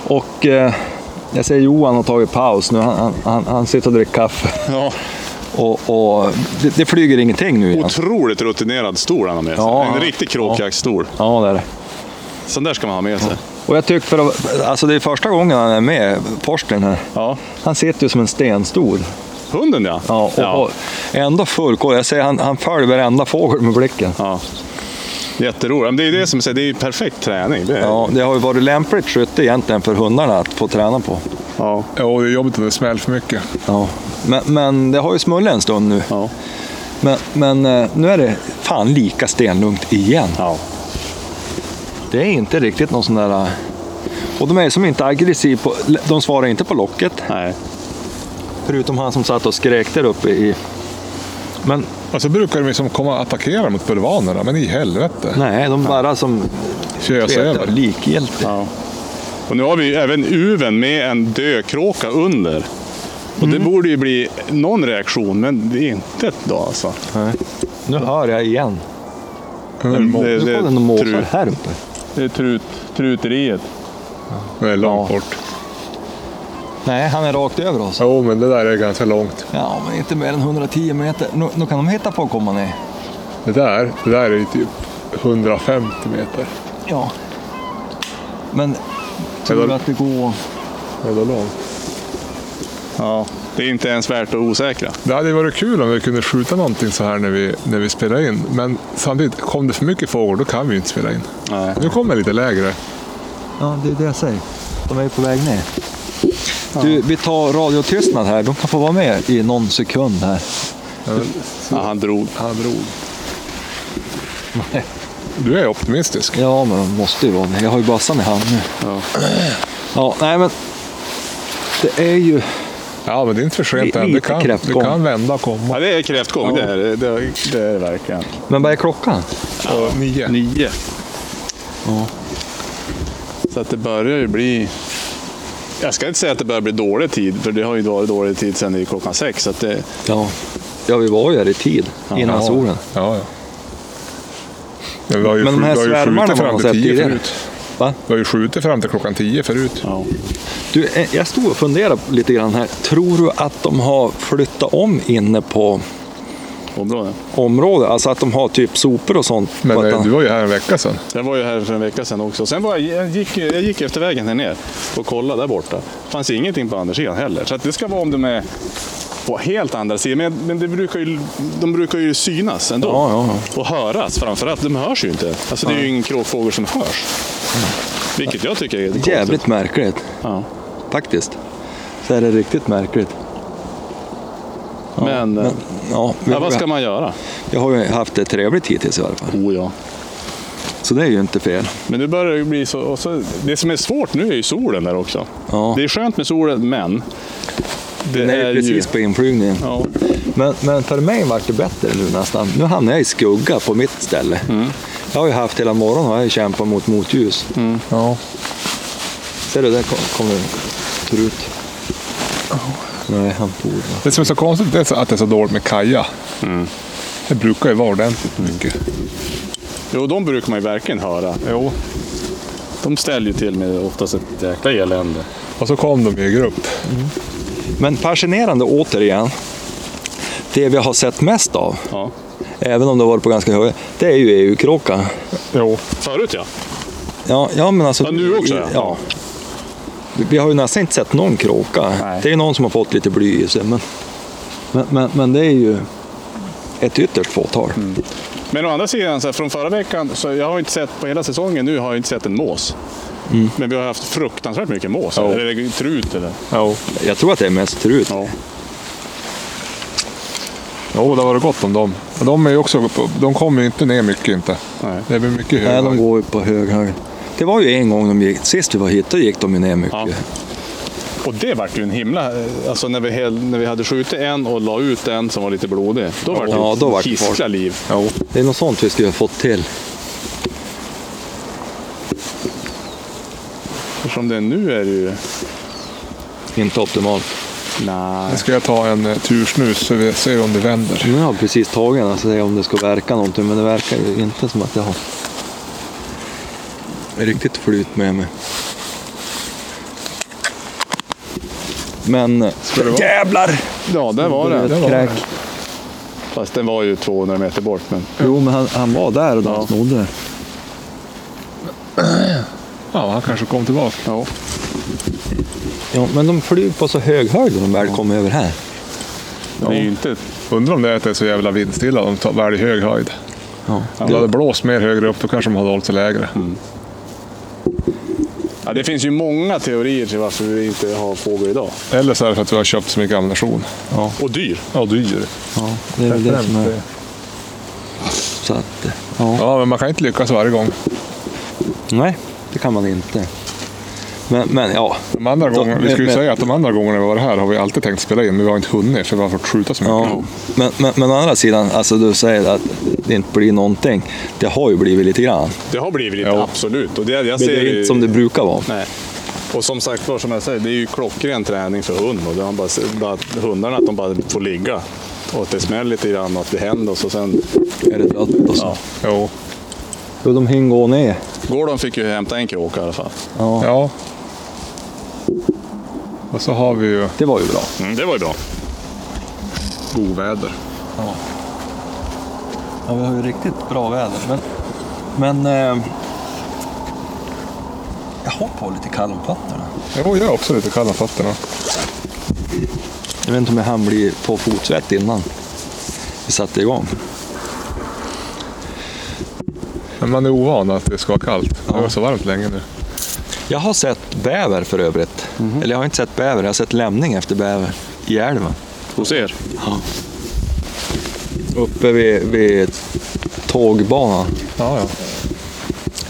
C: Och eh, jag säger Johan har tagit paus nu. Han- Han, han, han sitter och dricker kaffe.
B: Ja.
C: Och, och det, det flyger ingenting nu igen.
B: Otroligt rutinerad stol han har med sig.
C: Ja,
B: en
C: ja.
B: riktig kråkjaktstol.
C: Ja, det är det.
B: Sån där ska man ha med sig.
C: Och jag tycker för att, alltså det är första gången han är med, Forsling här.
B: Ja.
C: Han sitter ju som en stenstol.
B: Hunden ja.
C: Ja, och,
B: ja.
C: och ändå fullkoll. Jag säger han, han följer varenda fågel med blicken.
B: Ja. Jätteroligt. Men Det är ju det som jag säger, det är ju perfekt träning. Det är, ja.
C: Ja, det har ju varit lämpligt skytte egentligen för hundarna att få träna på.
B: Ja.
F: Ja, och det är jobbigt att det smäller för mycket.
C: Ja. Men, men det har ju smullat en stund nu.
B: Ja.
C: Men, men eh, nu är det fan lika stenlugnt igen.
B: Ja.
C: Det är inte riktigt någon sån där... eh, Och de är som inte aggressiva. på- De svarar inte på locket.
B: Nej.
C: Förutom han som satt och skrek där uppe i... Men
A: Och så brukar de liksom komma och attackera mot bulvanerna, men i helvete.
C: nej, de bara som...
A: Kös över.
C: Likgiltigt.
B: Ja. Och nu har vi ju även uven med en dökråka under. Och
F: Mm.
B: det borde ju bli någon reaktion, men det är inte ett då alltså.
C: Nu hör jag igen.
B: Men
C: Nu
B: det,
C: kommer
B: det,
C: den och måsar
B: trut,
C: här uppe.
D: Det är trut, truteriet.
A: Det är långt bort.
C: Nej, han är rakt över oss.
A: Jo, men det där är ganska långt.
C: Ja, men inte mer än 110 meter. Nu, nu kan de hitta på att komma ner.
A: Det där, det där är ju typ 150 meter.
C: Ja. Men tror du att det går...
A: Är det långt?
B: ja, det är inte ens värt att osäkra.
A: Det hade ju varit kul om vi kunde skjuta någonting så här när vi, när vi spelar in. Men samtidigt, kom det för mycket fågel då kan vi ju inte spela in.
B: Nej.
A: Nu kommer lite lägre.
C: Ja, det är det jag säger. De är ju på väg ner. Du, vi tar radiotystnad här. De kan få vara med i någon sekund här.
B: Ja, han drog.
A: Han drog. Du är optimistisk.
C: Ja, men de måste ju vara med. Jag har ju bassan i hand nu.
B: Ja.
C: Ja, nej men. Det är ju...
A: Ja, men det är inte för sent
C: Det är
A: än. Det
C: lite
A: kan, det
C: kräftgång.
A: kan vända och komma.
B: Ja, det är kräftgång, det, är, det, det, det är det verkligen.
C: Men vad är klockan?
A: Och nio.
B: Nio. Så att det börjar ju bli... Jag ska inte säga att det börjar bli dålig tid, för det har ju varit dålig tid sedan det är klockan sex. Så att det,
C: Ja, ja vi var ju här i tid innan
B: ja.
C: solen.
A: Ja, ja. Men vi har ju,
C: Men de
A: skjut-
C: här
A: vi har ju
C: svärmarna
A: skjutit
C: man har
A: fram till
C: sett
A: tio
C: tidigare.
A: förut.
C: Va?
A: Vi har ju skjutit fram till klockan tio förut.
B: ja.
C: Du, eh, jag stod och funderade lite grann här. Tror du att de har flyttat om inne på
B: områden.
C: området? Alltså att de har typ sopor och sånt?
A: Men
C: på ett
A: eh,
C: annat-
A: du var ju här en vecka sedan.
B: Jag var ju här för en vecka sedan också. Sen var jag, jag, gick, jag gick efter vägen här ner och kollade där borta. fanns ingenting på andra sidan heller. Så att det ska vara om de är på helt andra sidan. Men, men det brukar ju, de brukar ju synas ändå.
C: Ja, ja,
B: Och höras framförallt. De hörs ju inte. Alltså det är ju ingen kråkfågel som hörs. Vilket jag tycker är lite konstigt.
C: Mm. Jävligt märkligt,
B: Ja.
C: faktiskt. Så är det riktigt märkligt.
B: Men, eh,
C: Ja, vi-
B: ja, vad ska man göra?
C: Jag har ju haft det trevligt hittills i alla fall.
B: Oh, ja.
C: Så det är ju inte fel.
B: Men nu börjar det ju bli så, och så... Det som är svårt nu är ju solen där också.
C: Ja.
B: Det är skönt med solen, men... Det
C: Den är ju precis på inflygningen.
B: Ja.
C: Men, men för mig vart det bättre nu nästan. Nu hamnar jag i skugga på mitt ställe.
B: Mm.
C: Jag har ju haft hela morgonen har jag ju kämpat mot motljus.
B: Mm.
A: Ja.
C: Ser du, där kom- kommer en trut. Nej, han for. va?
A: Det som är så konstigt det är så att det är så dåligt med kaja.
C: Mm.
A: Det brukar ju vara ordentligt mycket.
B: Jo, de brukar man ju verkligen höra. Jo. De ställer ju till med oftast ett jäkla elände.
A: Och så kom de i grupp.
C: Men fascinerande återigen. Det vi har sett mest av,
B: Ja.
C: även om det har varit på ganska höga, det är ju EU-kråkan.
A: Jo.
B: Förut ja.
C: Ja, ja, men alltså,
B: Ja, nu också, ja.
C: ja. Vi har ju nästan inte sett någon kråka.
B: Nej.
C: Det är ju någon som har fått lite bly i sig, men, men, men, men det är ju ett ytterst fåtal.
B: Mm. Men å andra sidan, så här, från förra veckan, så jag har inte sett på hela säsongen nu har jag inte sett en mås.
C: Mm.
B: Men vi har haft fruktansvärt mycket mås.
A: Ja.
B: Eller trut eller.
A: Jo.
C: Jag tror att det är mest trut.
B: Ja.
A: jo, det var det gott om dem. Och de är ju också, de kommer ju inte ner mycket inte.
B: Nej.
A: Det blir mycket
C: Nej,
A: högre.
C: de går ju på hög höjd. Det var ju en gång de gick, sist vi var hit, då gick de ju ner mycket.
B: Ja. Och det vart ju en himla... Alltså när vi, hel- när vi hade skjutit en och la ut en som var lite blodig. Då vart
C: Ja,
B: det
C: då vart det
B: hissla
C: fart.
B: liv.
C: Det är något sånt vi skulle ha fått till.
B: Och Som det är nu är det ju...
C: Inte optimalt.
B: Nej.
A: Nu ska jag ta en eh, tursnus så vi ser om det vänder.
C: Nu har jag precis tagit den och se om det ska verka någonting, men det verkar ju inte som att jag har riktigt flyt med mig. Men...
A: det vara?
C: Jävlar!
B: Ja, där var
C: Det
B: den.
C: var
A: var
C: kräk.
B: Fast den var ju 200 meter bort. Men...
C: Jo, men han, han var där och de
B: Ja.
C: snodde det.
A: Ja, han kanske kom tillbaka.
B: Ja.
C: Ja, men de flyger på så hög höjd när de väl kommer över här.
B: Det är ju inte...
A: Undrar om det är att det är så jävla vindstilla. De tar väldigt hög höjd.
C: Ja.
A: Om det hade blåst mer högre upp då kanske de hade hållit sig lägre.
D: Ja, det finns ju många teorier till varför vi inte har fågel idag.
A: Eller så är det för att vi har köpt så mycket ammunition. Ja,
D: Och dyr.
A: ja dyr.
C: Det är väl det
A: Främst
C: som är...
A: det.
C: Så att, eh, ja.
A: Ja, men man kan inte lyckas varje gång.
C: Nej, det kan man inte. Men, men ja.
A: De andra
C: Då-
A: gångerna, vi skulle
C: men-
A: ju säga att de andra gångerna vi var här har vi alltid tänkt spela in, men vi har inte hunnit för vi har fått skjuta så mycket.
C: ja. Men, men, men å andra sidan, alltså du säger att det inte blir någonting. Det har ju blivit lite grann.
D: Det har blivit lite,
C: Ja.
D: absolut. Och det, jag
C: Men det
D: ser
C: är
D: ju-
C: inte som det brukar vara.
D: Nej. Och som sagt var, som jag säger, det är ju klockren träning för hund. Och det har bara, bara, hundarna, att de bara får ligga. Och att det smäller lite grann och att det händer. Och så sen,
C: Är det trött och så.
D: ja.
A: Jo.
C: Jo, de hinner gå ner.
D: Gordon fick ju hämta en kråka i alla fall.
C: Ja,
A: Ja. Och så har vi ju
C: det var ju bra.
A: Mm,
D: det var ju bra.
A: god väder.
C: Ja, vi har ju riktigt bra väder. Men, men eh, jag har på lite kall om fötterna.
A: Jo, jag är också lite kall om fötterna.
C: Jag vet inte om jag hann bli på fotsvett innan vi satte igång.
A: Men man är ovan att det ska vara kallt. Det var så varmt länge nu.
C: Jag har sett bäver för övrigt. Eller jag har inte sett bäver, jag har sett lämning efter bäver i älven.
D: Hos er?
C: Uppe vid, vid tågbanan.
A: Ja, ja.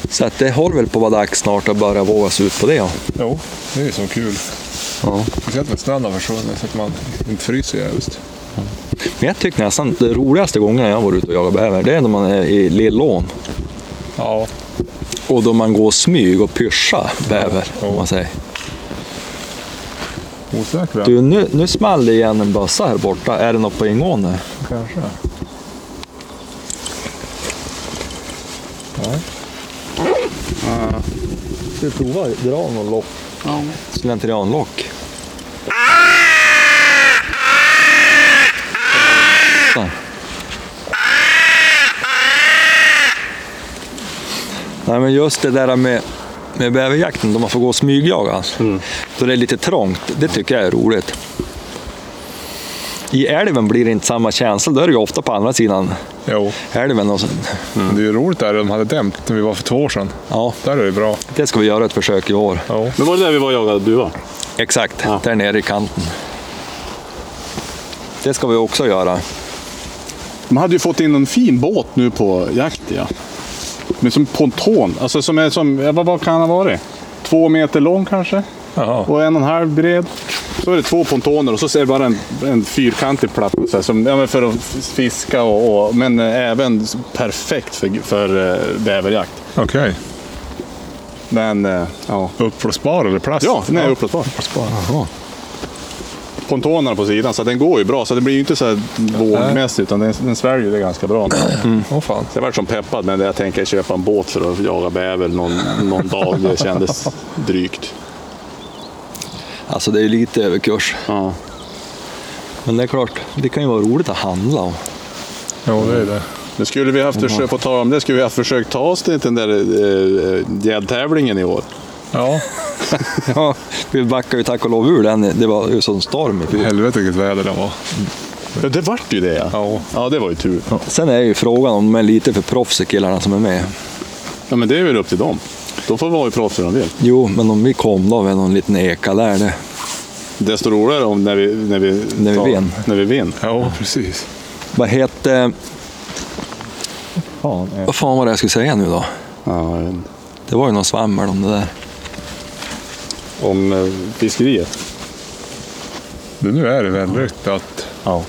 C: Så att det håller väl på att vara dags snart att börja våga sig ut på det. Ja.
A: Jo, det är ju så kul.
C: Ja.
A: Speciellt när snön har försvunnit så att man inte fryser jävligt.
C: Men jag tycker nästan att det roligaste gången jag var ute och jagade bäver, det är när man är i Lillån.
A: Ja.
C: Och då man går smyg och pyschar bäver, om man säger.
A: Osäkra
C: Du, nu, nu small det igen en bössa här borta. Är det något på ingående?
A: kanske.
C: Ska vi prova dra någon lock? Ja. Slentrianlock. Så. Nej men just det där med, med bäverjakten, då man får gå och smygjaga. alltså. Då det är lite trångt, det tycker jag är roligt. I älven blir det inte samma känsla, då är det ju ofta på andra sidan
A: Jo,
C: älven. Och sen,
A: Mm. men det är ju roligt där de hade dämt när vi var för två år sedan.
C: ja,
A: Där är det bra.
C: det ska vi göra ett försök i år.
A: Jo.
D: Men var det där vi var och jagade duva?
C: Exakt, där nere i kanten. Det ska vi också göra.
D: De hade ju fått in en fin båt nu på jakt, ja. Men som ponton. Alltså som är som, ja, vad, vad kan han ha varit? Två meter lång kanske?
A: Jaha.
D: Och en och en halv bred. Så är det två pontoner och så ser det bara en, en fyrkantig platta så här, som, ja, men för att f- fiska och, och men eh, även s- perfekt för, för eh, bäverjakt.
A: Okej.
D: Men eh, ja,
A: Uppblåsbar eller plast?
D: ja den är uppblåsbar. Pontonerna på sidan så att den går ju bra så det blir ju inte så här vågmässigt utan den, den sväljer det ganska bra.
A: Åh fan.
D: Så jag vart som peppad, men jag tänker köpa en båt för att jaga bäver någon, någon dag. Det kändes drygt.
C: Alltså det är lite överkurs.
D: Ja.
C: Men det är klart, det kan ju vara roligt att handla. om.
A: Jo, det är det.
D: Nu skulle vi haft försökt, på tal om det, skulle vi ha försökt ta oss till den där eh, gäddtävlingen i år.
A: Ja.
C: Ja, vi backar ju tack och lov ur den. Det var ju sån storm i fjol.
A: Helvete vilket väder det var.
D: Ja, det vart ju det ja.
A: Ja.
D: Ja, det var ju tur.
C: Sen är ju frågan om de är lite för proffsiga killarna som är med.
D: Ja, men det är väl upp till dem. De får vara ju proffs hur de vill.
C: Jo, men om vi kom då med någon liten eka där. Det.
D: Desto roligare om när vi, när vi,
C: När vi vinn.
D: När vi vinner.
A: Ja, precis.
C: Vad hette... Vad fan var det jag skulle säga nu då?
D: Ja, jag vet inte.
C: Det var ju någon svammel om det där.
D: om eh, fiskeriet.
A: Men nu är det väldigt att...
D: Ja.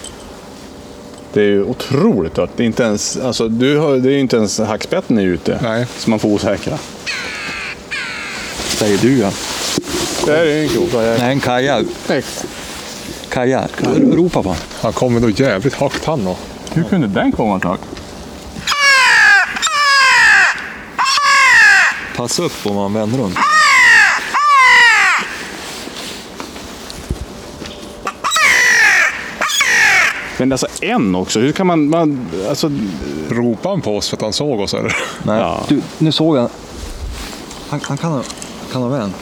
D: Det är ju otroligt att det är inte ens, alltså, du har, det är ju inte ens hackspetten är ute.
A: Nej.
D: Så man får osäkra.
C: Säger du ja.
D: Det här är ju en krok.
C: Nej, en kaja. Kaja, ropa på honom.
A: Han kommer nog jävligt högt han då.
D: Hur kunde den komma tack?
C: Pass upp om man vänder runt.
D: Men alltså en också, hur kan man... man alltså,
A: Ropade han på oss för att han såg oss eller?
C: Nej,
D: Ja.
C: du, nu såg jag. Han, han kan, ha, kan ha vänt.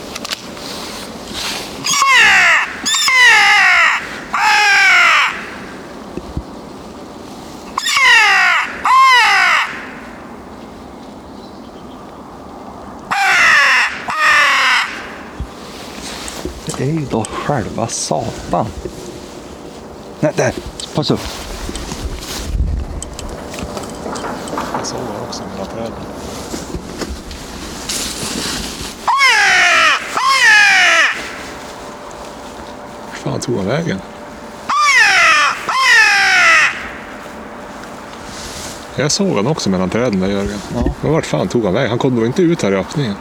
C: Det är ju då själva satan. Nej, där! Pass upp.
G: Jag såg det också mellan träden. Vart fan tog han vägen? Jag såg han också mellan träden där Jörgen. Men vart fan tog han vägen? Han kom nog inte ut här i öppningen.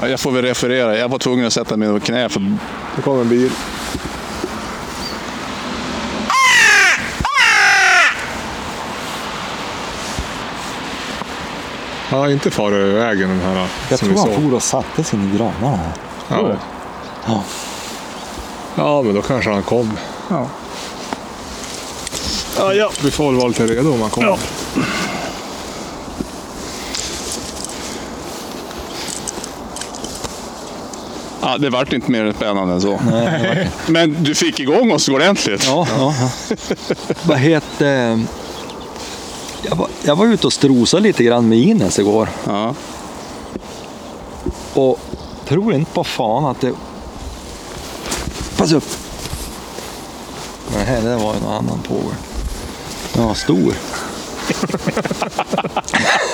D: Ja, jag får väl referera. Jag var tvungen att sätta mig på knä för
A: Nu kommer en bil. Han har inte farit över vägen den här
C: Jag
A: som
C: tror
A: vi
C: han
A: såg.
C: for och satte sig i granarna här.
A: Ja.
C: Ja.
A: ja, men då kanske han kom.
D: Ja, ja.
A: Vi får väl vara lite redo om han kommer.
D: Ja. Ja, det vart inte mer spännande än så. Men du fick igång oss ordentligt.
C: Ja, ja. Vad heter... Jag var, jag var ute och strosade lite grann med Ines igår.
D: Ja.
C: Och tror inte på fan att det... Pass upp! Nej, det var en annan fågel. Den var stor.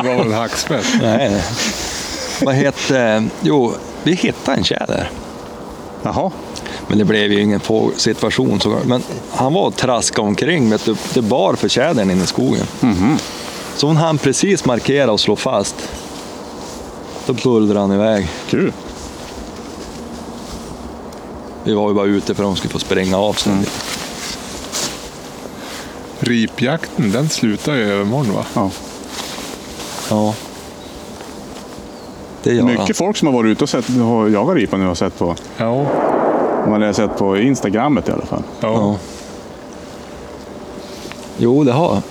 A: Det var väl en hackspett.
C: Nej. Vad heter... Jo, vi hittade en tjäder.
D: Jaha.
C: Men det blev ju ingen få- situation. så- Men han var och traskade omkring. Vet du, det bar för tjädern inne i skogen. Så hon hann precis markera och slå fast. Då bullrade han iväg.
D: Kul.
C: Vi var ju bara ute för att hon skulle få springa av sen.
A: Ripjakten, den slutar ju övermorgon va?
C: Ja. Det gör han.
D: Mycket folk som har varit ute och sett, har jagat ripa nu har sett på,
A: Ja.
D: man har sett på Instagrammet i alla fall.
C: Ja. Jo, det har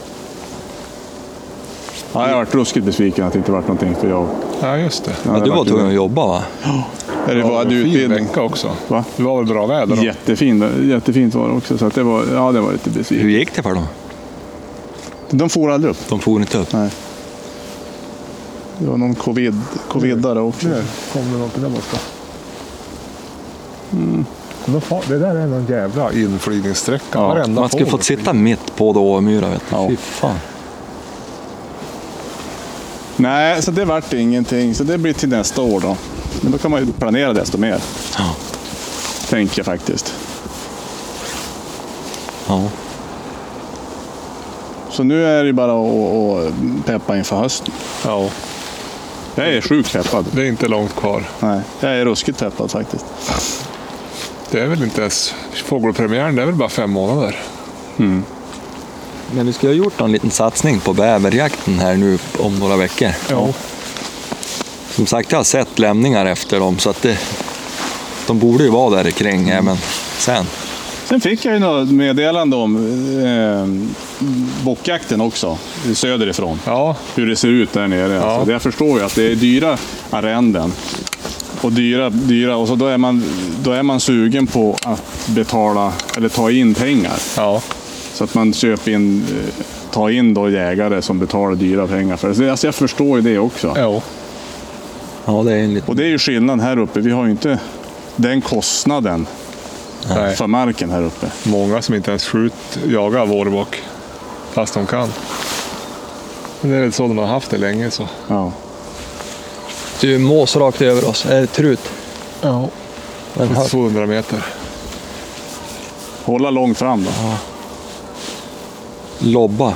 D: Ja, jag har varit ruskigt besviken att det inte varit någonting för jag.
A: Ja, just det.
C: ja, Du var tvungen att jobba va?
D: Är det
A: Det var
D: var
A: en
D: du
A: fin
D: utbildning?
A: vecka också.
D: Va?
A: Det var väl bra väder då?
D: Jättefin, jättefint var det också. Så att det var, ja, det var lite
C: Hur
D: besviken.
C: gick det för dem?
D: De for aldrig upp.
C: De for inte upp.
D: Det var någon covid, covidare också.
G: Kom det någonting där borta? Men fan, Det där är någon jävla
A: Inflygningssträcka.
D: Ja,
A: Varenda
C: Man skulle
A: fågel.
C: fått sitta mitt på då Åmyra vet du.
D: Ja.
C: Fy fan.
D: Nej, så det vart ingenting. Så det blir till nästa år då. Men då kan man ju planera desto mer.
C: Ja.
D: Tänker jag faktiskt.
C: Ja.
D: Så nu är det bara att, att peppa inför hösten.
A: Ja,
D: Jag är sjukt peppad.
A: det är inte långt kvar.
D: Nej, jag är ruskigt peppad faktiskt.
A: Det är väl inte ens... Fågelpremiären, det är väl bara fem månader?
C: Men vi skulle ha gjort någon liten satsning på bäverjakten här nu om några veckor.
A: Ja.
C: Som sagt, jag har sett lämningar efter dem så att det, de borde ju vara där kring även sen.
D: Sen fick jag ju något meddelande om eh, bockjakten också, söderifrån.
A: Ja,
D: Hur det ser ut där nere. Alltså, jag förstår ju att det är dyra arrenden. Och dyra, dyra, och så då är, man, då är man sugen på att betala, eller ta in pengar.
A: ja.
D: Så att man köper in, eh, tar in då jägare som betalar dyra pengar för det. Så, Alltså, jag förstår ju det också.
A: Jo.
C: Ja, det är en liten...
D: Och det är ju skillnaden här uppe. Vi har ju inte den kostnaden
A: Nej.
D: för marken här uppe.
A: Många som inte ens skjut jagar vårbock. Fast de kan. Men det är väl så de har haft det länge så.
D: Ja.
C: Du, mås rakt över oss. Är det trut?
A: Ja.
C: Den här
A: 200 meter.
D: Hålla långt fram då.
C: lobba.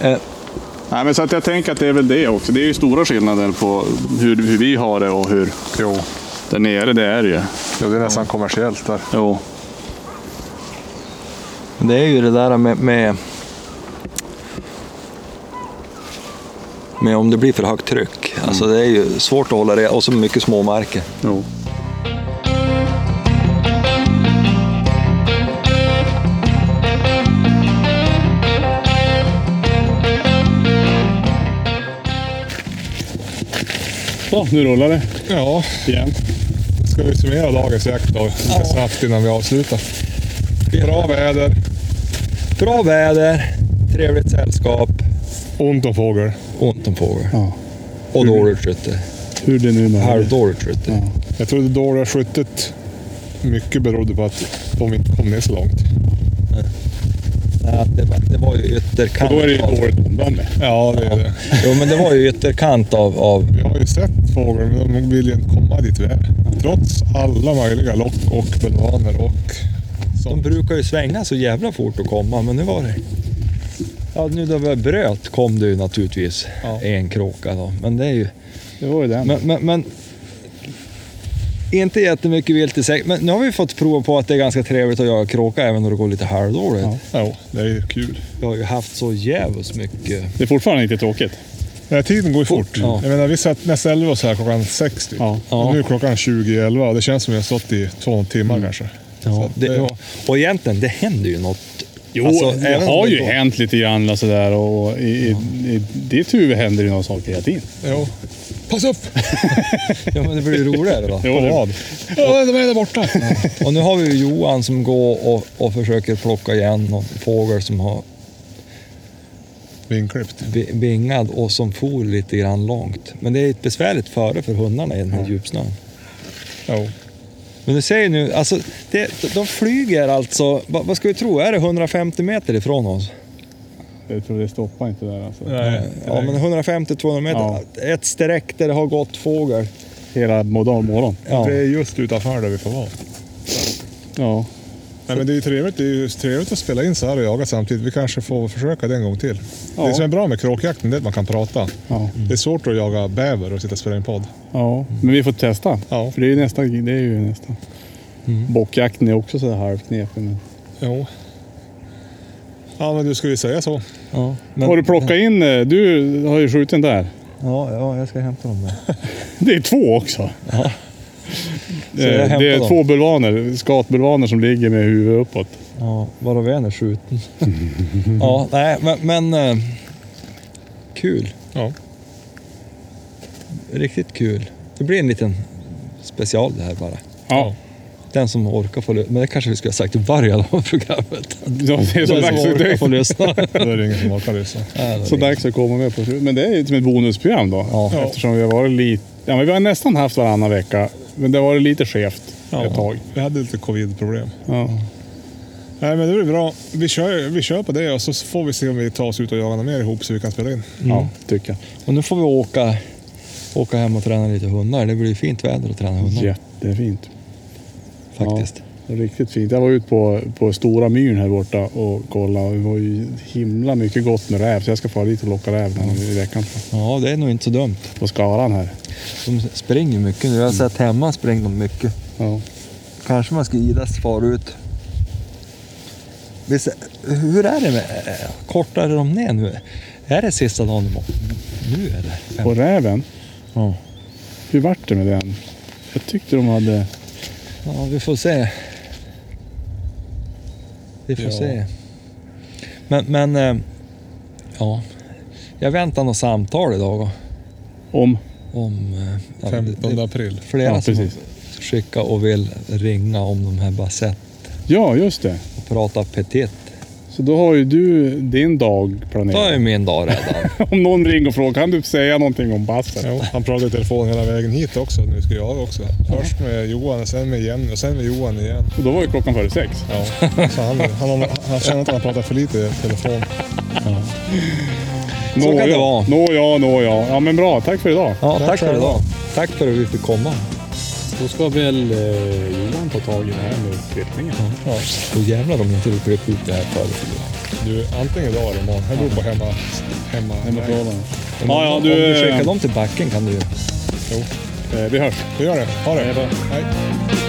C: Eh,
D: Nej, men så att jag tänker att det är väl det också. Det är ju stora skillnader på hur, hur vi har det och hur
A: Jo.
D: där nere det är ju.
A: jo, det är nästan kommersiellt där.
D: Jo.
C: Det är ju det där med, med... Med om det blir för högt tryck. Alltså det är ju svårt att hålla det och så mycket små marker.
D: jo. Så, nu rullar det
G: Ja,
D: igen.
G: ska vi summera dagens jakt då? Lite snabbt innan vi avslutar. Bra väder,
C: Bra väder, trevligt sällskap,
G: ont om fågel.
C: ont om fågel.
D: Ja.
C: Mm. Och dåligt skytte.
D: Hur det nu med
C: Halvdåligt skytte.
A: Jag tror det dåliga skyttet mycket berodde på att de inte kom ner så långt.
C: Nej, det, var, det var ju ytterkant.
D: Då är det ju
C: av-
D: dåligt omdöme.
A: Ja, det är det.
C: Jo, men det var ju ytterkant av... av
A: Vi har ju sett fåglar, men de vill ju inte komma dit vi är. Trots alla möjliga lock och bulvaner och
C: de
A: sånt.
C: brukar ju svänga så jävla fort och komma, men nu var det... Ja, nu då vi bröt kom det ju naturligtvis
A: Ja.
C: en kråka då, men det är ju...
D: Det var ju den.
C: Men, men, men inte jättemycket vilt i sig. Men nu har vi fått prova på att det är ganska trevligt att jaga kråka även när det går lite halvdåligt.
A: Ja, det är ju kul.
C: Jag har ju haft så jävligt mycket.
D: Det är fortfarande inte tråkigt.
A: Den här tiden går ju fort.
C: Ja.
A: Jag menar, vi satt nästan 11 så här klockan 60.
D: Ja.
A: Och nu är klockan 20 11. Det känns som vi har stått i två timmar kanske. Så
C: Ja,
A: att,
C: det,
A: eh,
C: ja. Och egentligen, det händer ju något.
D: Jo,
C: Alltså,
D: det
C: även om
D: har
C: det
D: ju
C: går-
D: hänt lite grann och sådär. Och i, i, i ditt huvud händer ju någon sak hela tiden.
A: ja. Pass upp!
C: Ja, men det blir ju roligare då.
D: Jo, det-
A: Vad? Ja, de är där borta.
C: Och nu har vi ju Johan som går och, och försöker plocka igen någon fågel som har
A: Vinklippt.
C: vi- vingad och som for lite grann långt. Men det är ett besvärligt före för hundarna i den här djupsnön.
A: Ja.
C: Men du ser ju nu, alltså, det, de flyger alltså, vad, vad ska vi tro, är det 150 meter ifrån oss?
D: Jag tror det stoppar inte där alltså.
A: Nej.
C: Ja, men 150-200 meter.
D: Ja.
C: Ett streck där det har gått fågel.
D: Hela modal morgon.
C: Ja.
A: Det är just utanför där vi får vara.
D: Ja.
A: Nej, men det är ju trevligt, det är ju trevligt att spela in så här och jaga samtidigt. Vi kanske får försöka det en gång till. Det som är bra med kråkjakten det är att man kan prata.
D: Ja.
A: Det är svårt att jaga bäver och sitta och spela in podd.
D: ja. Men vi får testa.
A: Ja.
D: För det är ju nästa. Det är ju nästa. Bockjakten är också sådär halvknepig. Men...
A: Jo. Ja, men du skulle ju säga så.
C: Ja, men,
D: Har du plockat in... eh, Du har ju skjutit den där.
C: ja, ja, jag ska hämta dem där.
D: Det är två också.
C: Så jag
D: Eh,
C: hämtar
D: Det är
C: dem.
D: två bulvaner, skatbulvaner som ligger med huvudet uppåt.
C: Ja, varav en är skjuten. ja, nej, men, men eh, kul.
A: Ja.
C: Riktigt kul. Det blir en liten special det här bara.
D: Ja,
C: Den som orkar får lyssna. Men det kanske vi skulle ha sagt i början av programmet.
D: ja det är så
C: Den som
D: dags, det
C: orkar får
D: är
C: lyssna.
A: Då är det ingen som orkar lyssna.
D: så dags att komma med på slutet. Men det är ju som ett bonusprogram då.
C: Ja.
D: Eftersom vi har varit lite... Ja, men vi har nästan haft varannan vecka. Men det har varit lite skevt ett tag.
A: Vi hade lite covid-problem.
D: Ja.
A: Nej, men det blir bra. Vi kör, vi kör på det och så får vi se om vi tar oss ut och jagar något mer ihop så vi kan spela in.
D: ja, tycker
C: Och nu får vi åka, åka hem och träna lite hundar. Det blir fint väder att träna hundar
D: jag. Jättefint.
C: faktiskt.
D: Ja, riktigt fint. Jag var ute på, på Stora Myren här borta och kollade. Det var ju himla mycket gott med räv. Så jag ska fara dit och locka räv den här i veckan.
C: Ja, det är nog inte så dumt.
D: På Skaran här.
C: De springer mycket nu. Jag har sett hemma springer de mycket.
D: Ja.
C: Kanske man ska idas far ut. Visst, hur är det med... Kortare de ner nu? Är det sista dagen de åker? Nu är det.
D: Och räven,
C: Ja.
D: hur vart det med den? Jag tyckte de hade...
C: ja, vi får se. Vi får
A: Ja.
C: se. Men, men... eh, Ja. Jag väntar något samtal idag
D: Om...
C: om... eh, ja, det- det-
A: 15 april.
C: flera
D: Ja,
C: som
D: precis.
C: skickar och vill ringa om de här basett
D: Ja, just det.
C: och prata petit.
D: Så då har ju du din dag
C: Då är
D: planerad.
C: min dag redan.
D: Om någon ringer och frågar, kan du säga någonting om bassen?
A: Jo, han pratade i telefon hela vägen hit också, nu ska jag också. Först med Johan, sen med Jenny och sen med Johan igen.
D: Och då var ju klockan före sex.
A: Ja. Så han, han, han känner att han pratar för lite i telefon.
C: Så kan det vara.
D: Nå ja, nå ja. Ja, men bra. Tack för idag.
C: Ja,
A: Tack
C: tack för
A: själva.
C: idag. Tack för att vi fick komma.
D: Då ska väl eh, Johan ta tag i det här med klippningen.
C: Och jävlar om inte du klippte ut det här förut.
A: Du, antingen idag eller imorgon. Det beror på hemma... Hemma...
D: Ja, ja,
C: Om du
D: du...
C: skickar dem till backen kan du ju...
D: eh, Vi hörs.
A: Vi gör det. Ha det. Hej.